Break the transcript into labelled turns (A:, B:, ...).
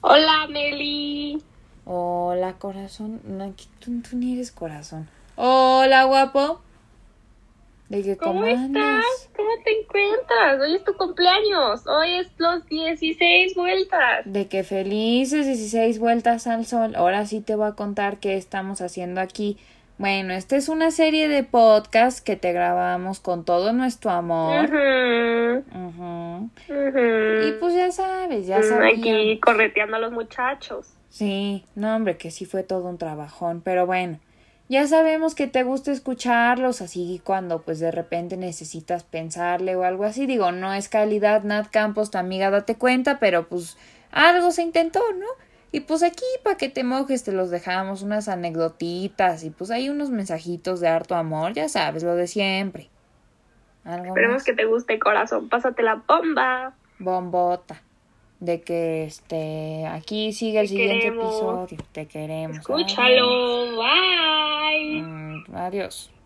A: Hola, Meli.
B: Hola, corazón. No, que tú, tú ni eres corazón.
C: Hola, guapo.
B: De que,
A: ¿Cómo
B: andas?
A: estás? ¿Cómo te encuentras? Hoy es tu cumpleaños. Hoy es los 16 vueltas.
B: De que felices 16 vueltas al sol. Ahora sí te voy a contar qué estamos haciendo aquí. Bueno, esta es una serie de podcasts que te grabamos con todo nuestro amor.
A: Ujú,
B: Ujú.
A: ujú.
B: Y pues ya sabes, ya
A: Mm,
B: sabes.
A: Aquí correteando a los muchachos.
B: Sí, no, hombre, que sí fue todo un trabajón, pero bueno, ya sabemos que te gusta escucharlos, así cuando pues de repente necesitas pensarle o algo así, digo, no es calidad, Nat Campos, tu amiga, date cuenta, pero pues algo se intentó, ¿no? Y pues aquí, para que te mojes, te los dejamos unas anecdotitas y pues hay unos mensajitos de harto amor, ya sabes, lo de siempre. Algo
A: Esperemos
B: más.
A: que te guste, corazón. Pásate la bomba.
B: Bombota. De que este aquí sigue el
A: Te
B: siguiente
A: queremos.
B: ¿eh? episodio. Te queremos.
A: Escúchalo. Bye.
B: Mm, Adiós.